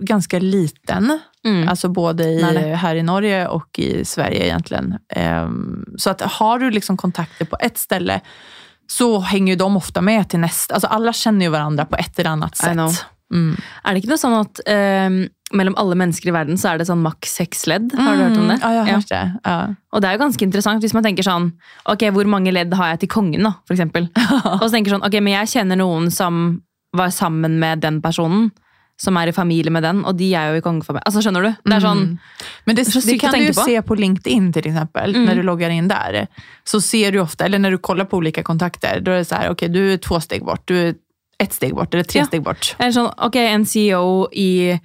A: ganska liten.
B: Mm.
A: Alltså både i,
B: Nej, nej.
A: här i Norge och i Sverige egentligen. Ehm, så att har du liksom kontakter på ett ställe så hänger ju de ofta med till nästa. Alltså alla känner ju varandra på ett eller annat
B: I know.
A: sätt. Mm.
B: Er det ikke noe sånn at eh, mellom alle mennesker i verden så er det sånn maks seks ledd? Har du hørt om det?
A: Mm. Ja, jag har
B: Ja.
A: hört det. Ja.
B: Og det er jo ganske interessant hvis man tenker sånn Ok, hvor mange ledd har jeg til kongen, da, for
A: <laughs>
B: eksempel? Og så tenker sånn Ok, men jeg kjenner noen som var sammen med den personen, som er i familie med den, og de er jo i kongefamilien. Altså, skjønner du? Det er sånn
A: Mm. Men det,
B: så
A: det
B: sykt
A: kan
B: att
A: du
B: tänka
A: ju
B: på.
A: se på LinkedIn till exempel,
B: Mm.
A: när du loggar in där. Så ser du ofta, eller när du kollar på olika kontakter, då är det så här, okej du är två steg bort, du är ett steg bort eller tre
B: Ja.
A: steg bort.
B: Eller sånn Ok, en CEO i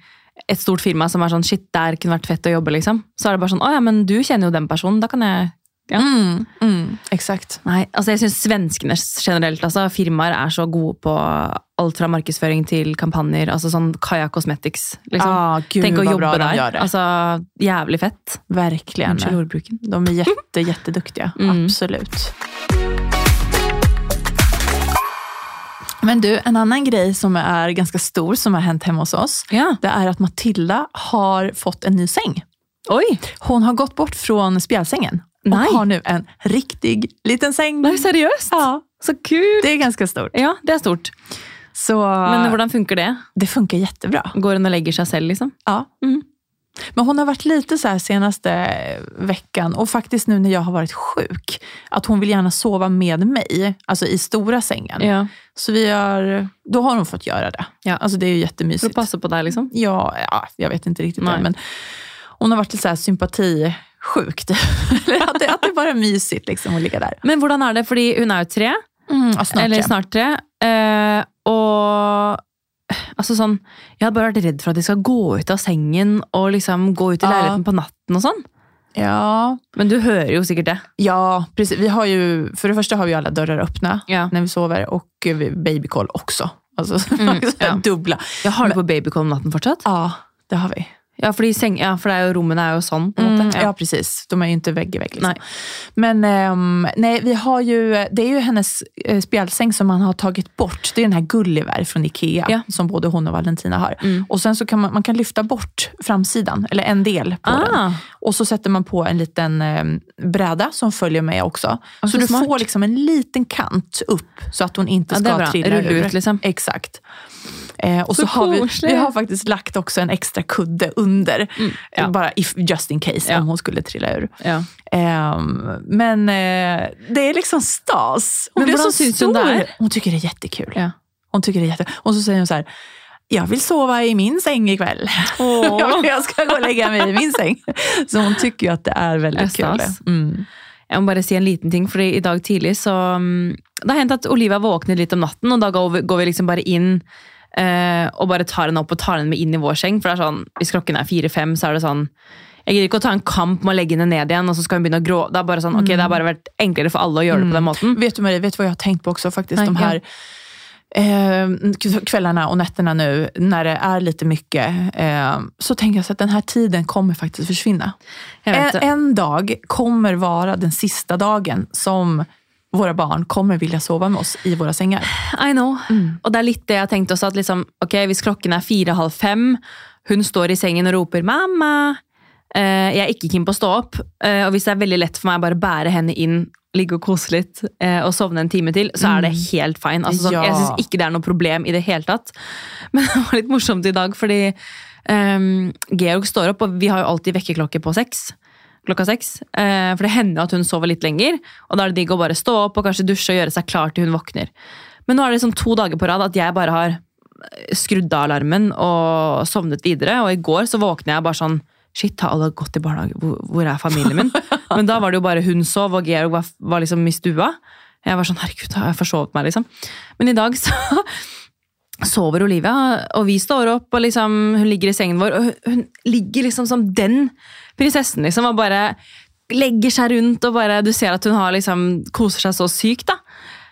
B: et stort firma som er sånn Shit, der kunne vært fett å jobbe, liksom. Så er det bare sånn Å ja, men du kjenner jo den personen, da kan jeg Ja.
A: Mm, mm, exakt.
B: Nei, altså jeg syns svenskene generelt, altså firmaer er så gode på alt fra markedsføring til kampanjer, altså sånn Kaja Cosmetics, liksom.
A: ah, gud
B: Tenk å
A: vad
B: jobbe
A: bra de
B: der.
A: gör det.
B: Altså, jævlig fett.
A: Verkligen.
B: Unnskyld ordbruken.
A: De är jätte, jätteduktiga,
B: Mm.
A: absolut. Men du, en annan grej som är ganska stor som har hänt hemma hos oss,
B: Ja.
A: det är att Matilda har fått en ny säng.
B: Oj!
A: Hon har gått bort från spjälsängen och
B: Nej.
A: har nu en riktig liten säng.
B: Nei, seriøst?
A: Mm. Ja,
B: Så kult!
A: det är ganska stort.
B: Ja, det er stort.
A: Så
B: Men hvordan funker det?
A: det funkar jättebra.
B: Går hun og legger seg selv, liksom?
A: Ja.
B: Mm.
A: Men hon har varit lite så här senaste veckan och faktiskt nu när jag har varit sjuk, att hon vill gärna sova med mig, alltså i stora sängen.
B: Ja.
A: Så vi har, då har hon fått göra det.
B: Ja.
A: Alltså det är ju
B: For å
A: jättemysigt.
B: passe på deg, liksom?
A: Ja, ja, jag vet inte riktigt
B: Nej.
A: än, men hon har varit lite så här sympatisjuk. typ. <laughs> Eller att, det, att det bara är mysigt liksom, att ligga där.
B: Men hvordan er det? Fordi hun er jo tre,
A: Mm, ja, snart,
B: eller
A: ja.
B: snart tre, eh, og Altså sånn, Jeg hadde bare vært redd for at de skal gå ut av sengen og liksom gå ut i
A: Ja.
B: leiligheten på natten. og sånn.
A: Ja,
B: Men du hører jo sikkert det.
A: ja precis. Vi har ju, för det första har vi alla dörrar öppna
B: Ja.
A: när vi sover och vi- babykoll också. Alltså, <laughs>
B: Mm,
A: så här
B: ja.
A: dubbla.
B: Jeg har det på babycall om natten fortsatt.
A: Ja, det har vi.
B: Ja, fordi seng, ja, for det er jo, rommene er jo sånn. på en måte.
A: Mm, ja. precis. De är ju inte vägg i vägg. Liksom.
B: Nej.
A: Men ehm, nej, vi har ju, det är ju hennes eh, spjälsäng som man har tagit bort. Det är den här Gulliver från Ikea,
B: Ja.
A: som både hon och Valentina har.
B: Mm.
A: Och sen så kan man, man kan lyfta bort framsidan, eller en del på den.
B: Ah,
A: Och så sätter man på en liten eh, bräda som följer med också. Så
B: Ja, så
A: du
B: smart.
A: får liksom en liten kant upp så att hon inte
B: Ja, det
A: ska
B: är bra.
A: trilla
B: Rulla
A: ur.
B: ut, liksom.
A: Exakt. Eh, och
B: Så
A: så, har vi,
B: koselig.
A: vi har faktiskt lagt också en extra kudde under.
B: Mm. ja.
A: Eh, Bara if, just in case
B: Ja.
A: om hon skulle trilla ur.
B: ja.
A: Ehm, men eh, det är liksom stas. Hon
B: Men
A: blev
B: hvordan
A: så
B: syns
A: stor.
B: hun det er?
A: Hon tycker det är jättekul.
B: Ja.
A: Hon tycker det är jätte... Och så säger hon så här, jag vill sova i min säng ikväll. <laughs>
B: Åh.
A: jag ska gå och lägga mig i min säng. Så hon tycker ju att det är väldigt
B: Det är
A: kul.
B: stas.
A: Mm.
B: Jeg må bare si en liten ting, fordi i dag tidlig så mm, Det har hendt at Olivia våkner litt om natten, og da går vi, går vi liksom bare inn eh, og bare tar henne opp og tar henne med inn i vår seng. For det er sånn, hvis klokken er fire-fem, så er det sånn Jeg gidder ikke å ta en kamp med å legge henne ned igjen, og så skal hun begynne å grå. Det er bare sånn, ok, det har bare vært enklere for alle å gjøre det på den måten.
A: Vet du Marie, vet du vad jag har tänkt på också faktiskt?
B: Nej,
A: de här eh, kvällarna och nätterna nu, när det är lite mycket, eh, så tänker jag så att den här tiden kommer faktiskt försvinna.
B: Jeg vet
A: En,
B: det.
A: en dag kommer vara den sista dagen som våra barn kommer vilja sova med oss i våra sängar.
B: I know. Og det er litt det jeg har tenkt også, at liksom, ok, hvis klokken er fire-halv fem, hun står i sengen og roper 'mamma', eh, jeg er ikke keen på å stå opp, eh, og hvis det er veldig lett for meg å bare bære henne inn, ligge og kose litt eh, og sovne en time til, så er det helt fine. Altså, sånn,
A: Ja.
B: Jeg syns ikke det er noe problem i det hele tatt. <laughs> Men det var litt morsomt i dag, fordi ehm, Georg står opp, og vi har jo alltid vekkerklokke på seks. Klokka seks. Eh, for det hender jo at hun sover litt lenger, og da er det digg å bare stå opp og kanskje dusje og gjøre seg klar til hun våkner. Men nå er det liksom to dager på rad at jeg bare har eh, skrudd av alarmen og sovnet videre. Og i går så våkna jeg bare sånn Shit, har alle gått i barnehage? Hvor, hvor er familien min? Men da var det jo bare hun sov, og Georg var, var liksom i stua. Jeg var sånn, herregud, har jeg forsovet meg, liksom? Men i dag så sover Olivia, og vi står opp, og liksom, hun ligger i sengen vår, og hun, hun ligger liksom som den prinsessen, liksom, og bare legger seg rundt, og bare, du ser at hun har liksom, koser seg så sykt, da.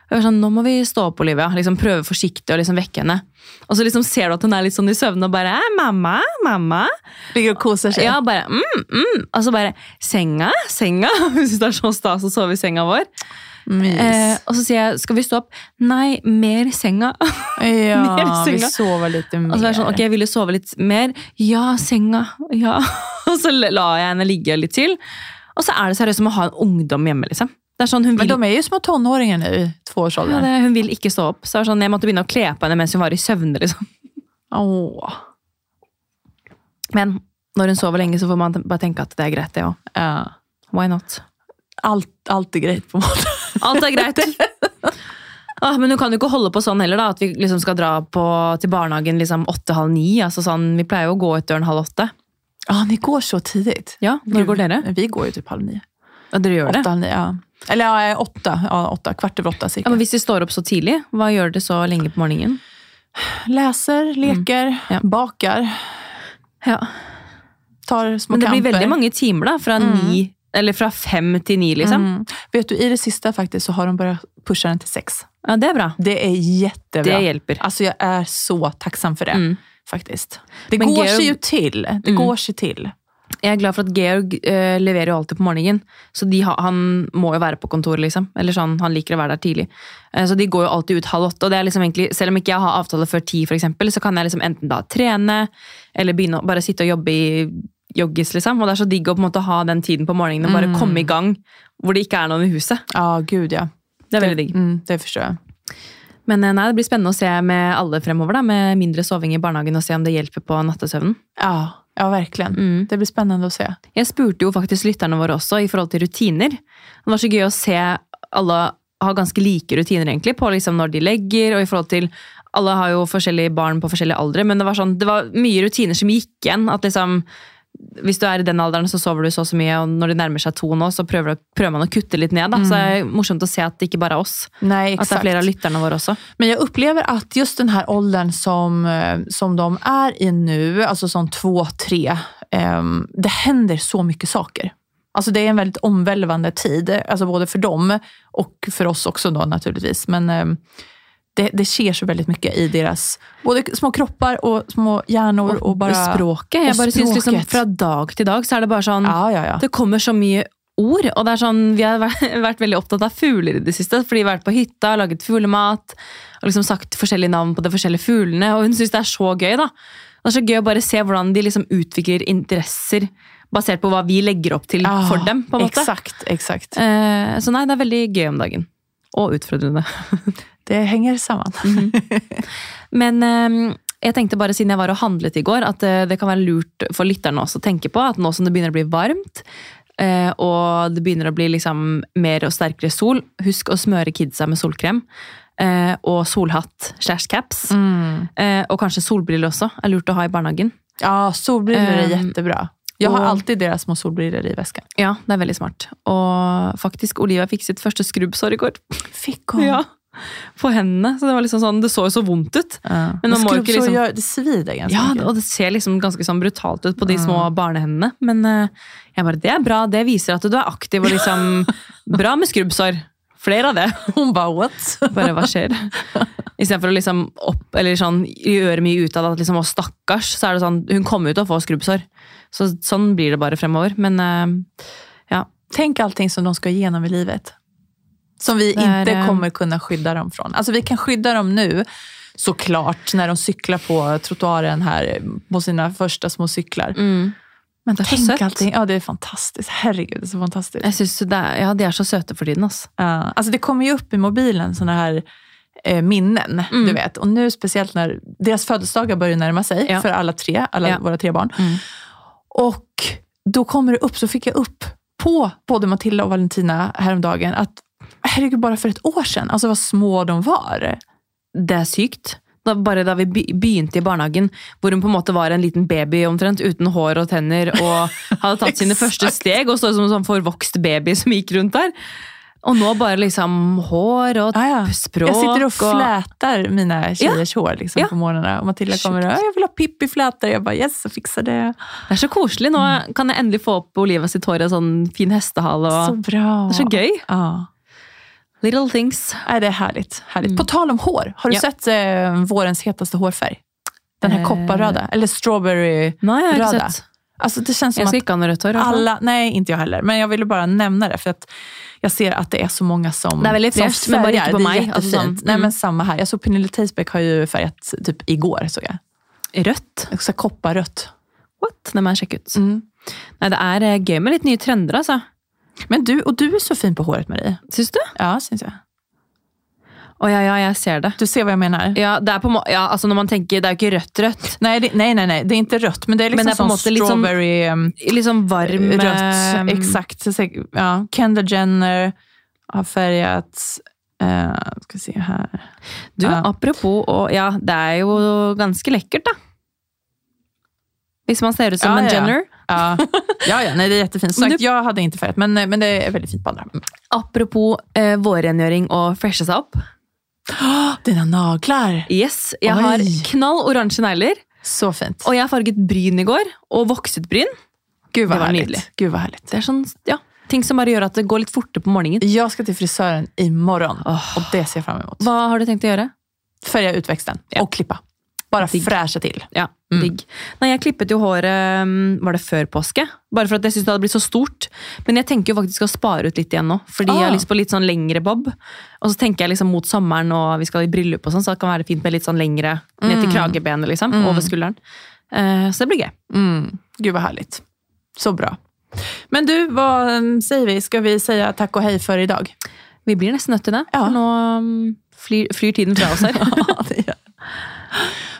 B: Og jeg var sånn, nå må vi stå opp, Olivia, liksom prøve forsiktig og liksom vekke henne. Og så liksom ser du at hun er litt sånn i søvn, og bare, «Æ, mamma, mamma.
A: Ligger och kosar sig.
B: Ja, bare, <laughs> mm, mm. Og så bare, senga, senga. Hun synes det er så stas å sove i senga vår.
A: Mys.
B: Eh, og så sier jeg 'skal vi stå opp'? Nei, mer i senga. <laughs>
A: <laughs> ja,
B: mer
A: vi
B: senga.
A: sover lite mer.
B: Og så var jeg sånn, ok, jeg ville sove litt mer. Ja, senga. Ja. <laughs> Og så la jeg henne ligge litt til. Og så er det seriøst som å ha en ungdom hjemme, liksom. Det er sånn, hun
A: Men
B: vil,
A: de är ju små tonåringar nu,
B: ja,
A: tvåårsåldern.
B: det, hun vil ikke stå opp. Så det er sånn, jeg måtte begynne å kle på henne mens hun var i søvne, liksom.
A: Åh.
B: Men når hun sover lenge, så får man bare tenke at det er greit, det òg.
A: Ja.
B: Why not?
A: Allt, allt är grejt på måten.
B: Alt er <laughs> greit. Ah, men hun kan jo ikke holde på sånn heller, da. At vi liksom skal dra på, til barnehagen liksom åtte-halv ni. Altså sånn, vi pleier jo å gå ut døren halv åtte.
A: Ja, ni går så tidigt.
B: Ja, Når går dere?
A: Vi går ju typ halv nio.
B: Mm. Ja, dere gjør det.
A: Åtta, halv nio, ja. Eller ja, eh, åtta. Ja, åtta. Kvart över åtta cirka.
B: Ja, men Hvis de står opp så tidlig, hva gjør dere så lenge på morgenen?
A: Läser, leker,
B: Mm. Ja.
A: bakar,
B: Ja.
A: tar små
B: Men det blir
A: kamper.
B: veldig mange timer, da. Fra, ni, eller fra fem til ni, liksom.
A: Mm. Vet du, i det sista faktiskt så har de börjat pusha den till sex.
B: Ja, Det er bra.
A: Det är jättebra.
B: Det hjelper.
A: Alltså jag är så tacksam för det.
B: Mm.
A: Faktiskt. Det
B: Men
A: går
B: Georg-
A: sig ju till. Det
B: Mm.
A: går sig till.
B: Jeg er glad for at Georg eh, leverer jo alltid på morgenen. Så de, ha- han må jo være på kontoret, liksom. Eller sånn, han liker å være der tidlig. Eh, så de går jo alltid ut halv åtte. Og det er liksom egentlig, selv om ikke jeg har avtale før ti, for eksempel, så kan jeg liksom enten da trene, eller begynne å bare sitte og jobbe i joggis, liksom. Og det er så digg å på en måte ha den tiden på morgenen og bare
A: Mm.
B: komme i gang hvor det ikke er noen i huset.
A: Ja, gud ja.
B: Det er veldig digg.
A: Mm, det förstår jag.
B: Men eh, nei, det blir spennende å se med alle fremover, da, med mindre soving i barnehagen, og se om det hjelper på nattesøvnen.
A: Ja, ja verkligen.
B: Mm.
A: Det blir spännande att se.
B: Jeg spurte jo faktisk lytterne våre også i forhold til rutiner. Det var så gøy å se alle ha ganske like rutiner egentlig, på liksom når de legger, og i forhold til alle har jo forskjellige barn på forskjellige aldre, men det var, sånn, det var mye rutiner som gikk igjen. At liksom, hvis du er i den alderen, så sover du så og så mye, og når det nærmer seg to nå, så prøver, du- prøver man å kutte litt ned. Da. Så det er morsomt å se at det ikke bare er oss.
A: Nej,
B: At det
A: exakt.
B: er flere av lytterne våre også.
A: Men jag upplever att just den här åldern som, eh, som de är i nu, alltså som två, tre, ehm, det händer så mycket saker. Alltså det är en väldigt omvälvande tid, alltså både för dem och för oss också då naturligtvis. Men ehm, det, det sker så väldigt mycket i deras både små kroppar och små hjärnor. Och bara,
B: språket. Jeg
A: og
B: bare synes liksom
A: språket.
B: Fra dag til dag så er det bare sånn
A: Ja, ja, ja.
B: Det kommer så mye ord. Og det er sånn, vi har vært, <laughs> vært veldig opptatt av fugler i det siste. Fordi vi har vært på hytta, laget fuglemat og liksom sagt forskjellige navn på de forskjellige fuglene. Og hun syns det er så gøy. da. Det er så gøy å bare se hvordan de liksom utvikler interesser basert på hva vi legger opp til
A: Ja,
B: for dem. på en måte.
A: Ah, Exakt, exakt.
B: Eh, så nei, det er veldig gøy om dagen. Og utfordrende.
A: Det hänger samman.
B: Men eh, jeg tenkte bare siden jeg var og handlet i går, at eh, det kan være lurt for lytterne også å tenke på at nå som det begynner å bli varmt, eh, og det begynner å bli liksom mer og sterkere sol, husk å smøre kidsa med solkrem. eh, Og solhatt slash caps.
A: Mm.
B: Eh, Og kanskje solbriller også. er lurt å ha i barnehagen.
A: Ja, solbriller är
B: Ehm,
A: jättebra. Jag har
B: och-
A: alltid deras små solbriller i väskan.
B: Ja, det er veldig smart. Og faktisk, Olivia fikk sitt første skrubbsår i går. <laughs>
A: Fick hon?
B: Ja, På hendene. Så det var liksom sånn, det så jo så vondt ut.
A: Men,
B: man må jo ikke
A: skrubbsår
B: liksom-
A: gör, det svider ganska
B: Ja,
A: mycket.
B: og det ser liksom ganske sånn brutalt ut på de små barnehendene. Men eh, jeg bare, det er bra. Det viser at du er aktiv og liksom <laughs> Bra med skrubbsår. Flere av det.
A: Hon bara what?
B: <laughs> Bare hva <laughs> skjer? Istedenfor å liksom opp, eller sånn, gjøre mye ut av det. At liksom, å, stakkars, så er det sånn Hun kommer jo til å få skrubbsår. Så, sånn blir det bare fremover. Men eh, ja.
A: Tänk allting som de ska igenom i livet. Som vi
B: Det är,
A: inte
B: eh,
A: kommer kunna skydda dem från. Alltså vi kan skydda dem nu, såklart, när de cyklar på trottoaren här på sina första små cyklar.
B: Mm.
A: Men
B: Det är så
A: tänk
B: sött.
A: allting. Ja, det är fantastiskt. Herregud, det är så fantastiskt.
B: Jeg synes det er, ja, de er så søte for tiden, altså.
A: Ja, alltså det kommer ju upp i mobilen sådana här eh, minnen, du
B: Mm.
A: vet. Och nu speciellt när deras födelsedagar börjar närma sig
B: Ja.
A: för alla tre, alla
B: Ja.
A: våra tre barn.
B: Mm.
A: Och då kommer det upp, så fick jag upp på både Matilda och Valentina häromdagen att herregud, bara för ett år sedan, alltså vad små de var.
B: det er sykt. Da, bare da vi be- begynte i barnehagen, hvor hun på en måte var en liten baby omtrent, uten hår og tenner,
A: <laughs>
B: og hadde tatt sine første steg, og så som en sånn forvokst baby som gikk rundt der. Og nå bare liksom hår og
A: Ah, ja.
B: språk.
A: jag sitter och
B: og-
A: flätar mina tjejers hår liksom,
B: Ja.
A: på morgnarna och Matilda kommer och jag vill ha Pippi-flätor. Jag bara yes, jag fixar det.
B: Det er så koselig. Nå kan jeg endelig få opp Olivia sitt hår i en sånn fin hestehale.
A: Så
B: Og...
A: bra.
B: Det er så gøy.
A: Ja.
B: Little things.
A: Nej, det är härligt. härligt. På tal om hår, har du
B: Mm. Ja.
A: sett eh, vårens hetaste hårfärg? Den här
B: Eh.
A: kopparröda, eller strawberry.
B: Nei, jeg har
A: Bra,
B: ikke sett.
A: Alltså det känns som
B: Jeg
A: att
B: skal ikke ha noe rødt hår. i hvert fall.
A: alla, nej inte jag heller, men jag ville bara nämna det för att jag ser att det är så många som
B: Det är väldigt
A: som
B: fräscht, men bara
A: färgar.
B: inte på
A: Det är
B: mig.
A: jättefint.
B: Alltså som-
A: Nej
B: mm.
A: men samma här. Jag såg Pernilla Teisbeck har ju färgat typ igår såg jag.
B: Rødt?
A: Så här kopparrött.
B: What? Det må jeg sjekke
A: Mm.
B: ut. Nei, det er eh, gøy med litt nye trender, altså.
A: Men du, och du är så fin på håret Marie.
B: Syns du?
A: Ja, syns jag.
B: Å ja, ja, jeg ser det.
A: Du ser vad jag menar.
B: Ja, det er på en må- ja, altså når man tenker, det er jo ikke rødt-rødt.
A: Nej, det, nej, nej, nej, det är inte rött, men det är liksom
B: Men det är
A: sånn
B: på något sätt liksom-
A: strawberry ehm,
B: Liksom varm eh,
A: rött. Exakt. Så säkert- Ja. Kendall Jenner har färgat, eh, ska vi se här.
B: Du,
A: Ja.
B: apropos, og ja, det er jo ganske lekkert, da. Hvis man ser ut som
A: Ja,
B: en
A: ja, ja.
B: Jenner.
A: <laughs> Ja, ja, ja nej, det är jättefint. Som
B: Men
A: sagt, jag hade inte färgat, men, eh, men det är väldigt fint på andra.
B: Apropos eh, vårrengjøring og freshe seg opp.
A: Åh, dina naglar!
B: Yes, Jeg
A: Oi.
B: har knall oransje negler,
A: Så fint.
B: og jeg farget bryn i går. Og vokset bryn.
A: Gud vad
B: det var
A: härligt.
B: nydelig.
A: Gud vad härligt.
B: Det er sånn, ja, Ting som bare gjør at det går litt fortere på morgenen.
A: Jag ska till frisören imorgon och det ser jag fram emot.
B: Hva har du tenkt å gjøre?
A: Färga ut växten och klippa. Bara
B: Digg.
A: fräscha till.
B: Ja,
A: Mm.
B: digg. Nei, jeg klippet jo håret mm, Var det før påske? Bare for at jeg syntes det hadde blitt så stort. Men jeg tenker jo faktisk å spare ut litt igjen nå. Fordi jeg
A: Ah.
B: har lyst på litt sånn lengre bob. Og så tenker jeg liksom mot sommeren og vi skal i bryllup og sånn, så det kan være fint med litt sånn lengre ned til
A: Mm.
B: kragebenet, liksom.
A: Mm.
B: Over skulderen. Eh, så det blir gøy.
A: Mm. Gud vad härligt. Så bra. Men du, vad mm, säger vi? Ska vi säga tack og hej för idag?
B: Vi blir nesten nødt til det.
A: Ja.
B: For nå mm, flyr, flyr tiden fra
A: <laughs>
B: oss her.
A: Ja, det gör det.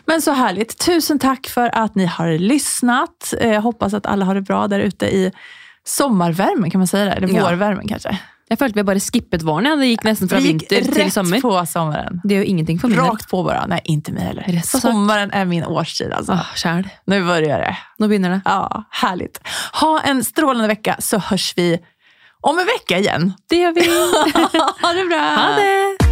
A: Men så härligt. Tusen tack för att ni har lyssnat. Eh, Jag hoppas att alla har det bra där ute i sommarvärmen, kan man säga det? Eller
B: Ja.
A: vårvärmen kanske?
B: Jeg følte vi bare skippet våren. Ja. Det gikk nesten fra
A: Vi gick
B: vinter til
A: rätt
B: sommer.
A: på sommaren.
B: Det gjør jo ingenting for min del.
A: Rakt på bara. Nej, inte mig heller.
B: Rätt på sak.
A: Sommaren är min årstid alltså.
B: Åh, Sjæl.
A: Nu börjar det.
B: Nå begynner det.
A: Ja, härligt. Ha en strålande vecka så hörs vi om en vecka igen.
B: <laughs> Det gjør vi.
A: <laughs> ha det bra!
B: Ha det!